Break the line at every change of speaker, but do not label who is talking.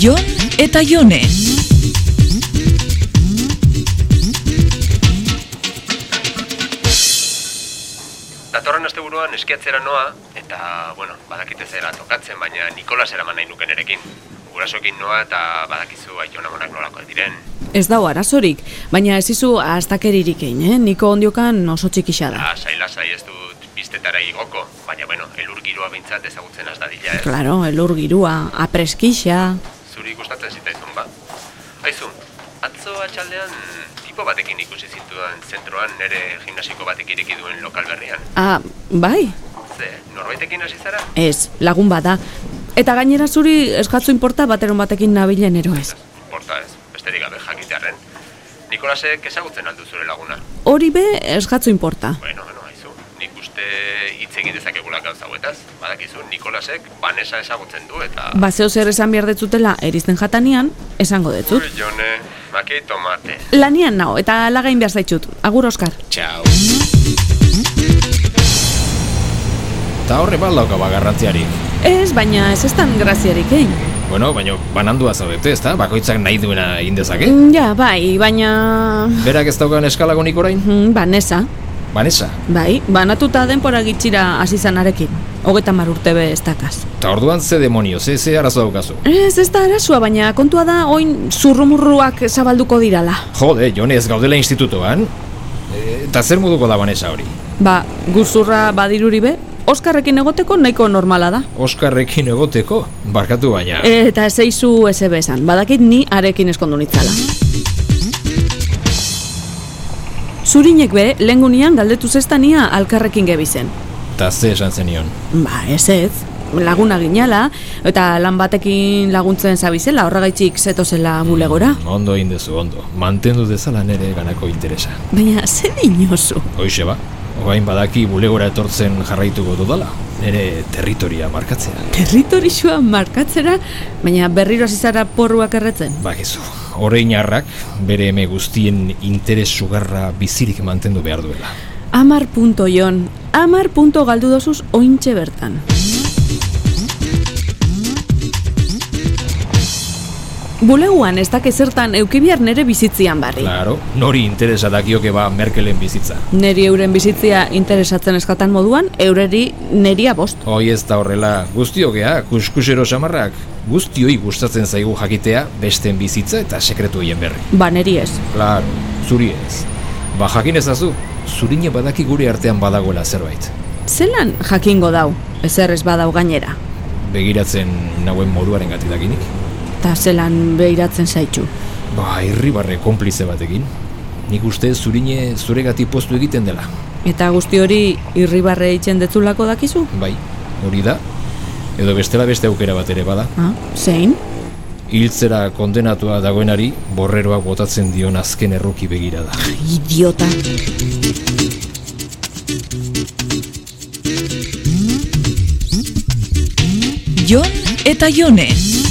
Jon eta Jone.
Datorren asteburuan eskiatzera noa, eta, bueno, badakite zera tokatzen, baina Nikolas eraman nahi nuken erekin. Gurasoekin noa eta badakizu aion amonak nolakoak diren.
Ez dago arazorik, baina ez izu astakeririk egin, eh? Niko ondiokan oso txikixa da.
Lasai, Ah, lasai ez dut biztetara igoko, baina, bueno, elur giroa behintzat ezagutzen az dadila ez.
Claro, elur girua, apreskixa.
Zuri gustatzen zitaizun, ba. Aizu, atzo atxaldean tipo batekin ikusi zintudan zentroan nere gimnasiko batek ireki duen lokal berrian.
Ah, bai?
Ze, norbaitekin hasi zara?
Ez, lagun bada. Eta gainera zuri eskatzu inporta bateron batekin nabilen ero ez.
Porta ez, besterik gabe jakitearen. Nikolasek ezagutzen aldu zure laguna.
Hori be eskatzu inporta.
Bueno, bueno, haizu, nik uste hitz egin dezakegula gauza hauetaz. Badakizu, Nikolasek Vanessa ezagutzen du eta...
Bazeo zer esan behar detzutela erizten jatanean, esango detzut.
Ui, Jone, makei tomate.
Lanian nao, eta lagain behar zaitxut. Agur, Oskar.
Txau. Ta horre bat dauka bagarratziari.
Ez, baina ez ez tan graziarik eh? egin.
Bueno, baina banandua zaudete, ezta? Bakoitzak nahi duena egin dezake.
Ja, bai, baina...
Berak ez daukan eskalagonik orain?
Mm, Vanessa,
Vanessa,
bai, banatuta denpora gitxira azizanarekin. Hogetan mar urte be ez dakaz.
eta orduan ze demonio, ze, ze arazo daukazu.
Ez, ez da arasua, baina kontua da oin zurrumurruak zabalduko dirala.
Jode, Jone ez gaudela institutoan. E, Eta zer moduko da Vanessa hori?
Ba, guzurra badiruri be, Oskarrekin egoteko nahiko normala da.
Oskarrekin egoteko, barkatu baina.
Eta ez eizu ez ebe esan, badakit ni arekin eskondu nitzala. Zurinek be, lehengunian galdetu zestania alkarrekin gebizen.
Eta ze esan zenion.
Ba, ez ez, laguna ginala, eta lan batekin laguntzen zabizela, horregaitzik zetozela bulegora.
Ondo egin dezu, ondo. Mantendu dezala nere ganako interesa.
Baina, ze dinozu?
Hoixe ba, orain badaki bulegora etortzen jarraituko dudala, nire territoria markatzea.
Territorixua markatzera, baina berriro hasi zara porruak erretzen.
Bakizu, Ba, orain harrak bere eme guztien interes sugarra bizirik mantendu behar duela.
Amar punto jon, amar punto galdu dozuz ointxe bertan. Buleguan ez dake zertan eukibiar nere bizitzian barri.
Claro, nori interesa dakioke ba Merkelen bizitza.
Neri euren bizitzia interesatzen eskatan moduan, eureri neria bost.
Hoi ez da horrela, guztiogea, kuskusero samarrak, guztioi gustatzen zaigu jakitea besteen bizitza eta sekretu hien berri.
Ba, neri ez.
Claro, zuri ez. Ba jakin ezazu, zurine badaki gure artean badagoela zerbait.
Zelan jakingo dau, ezer ez badau gainera.
Begiratzen nauen moruaren gatidakinik.
Ta zelan behiratzen zaitxu.
Ba, irribarre konplize batekin. Nik uste zurine zuregati postu egiten dela.
Eta guzti hori irribarre eitzen detzulako dakizu?
Bai, hori da. Edo bestela beste aukera bat ere bada.
Ha? Zein?
Hiltzera kondenatua dagoenari, borreroak botatzen dion azken erruki begira da.
Idiota.
Jon eta Jone.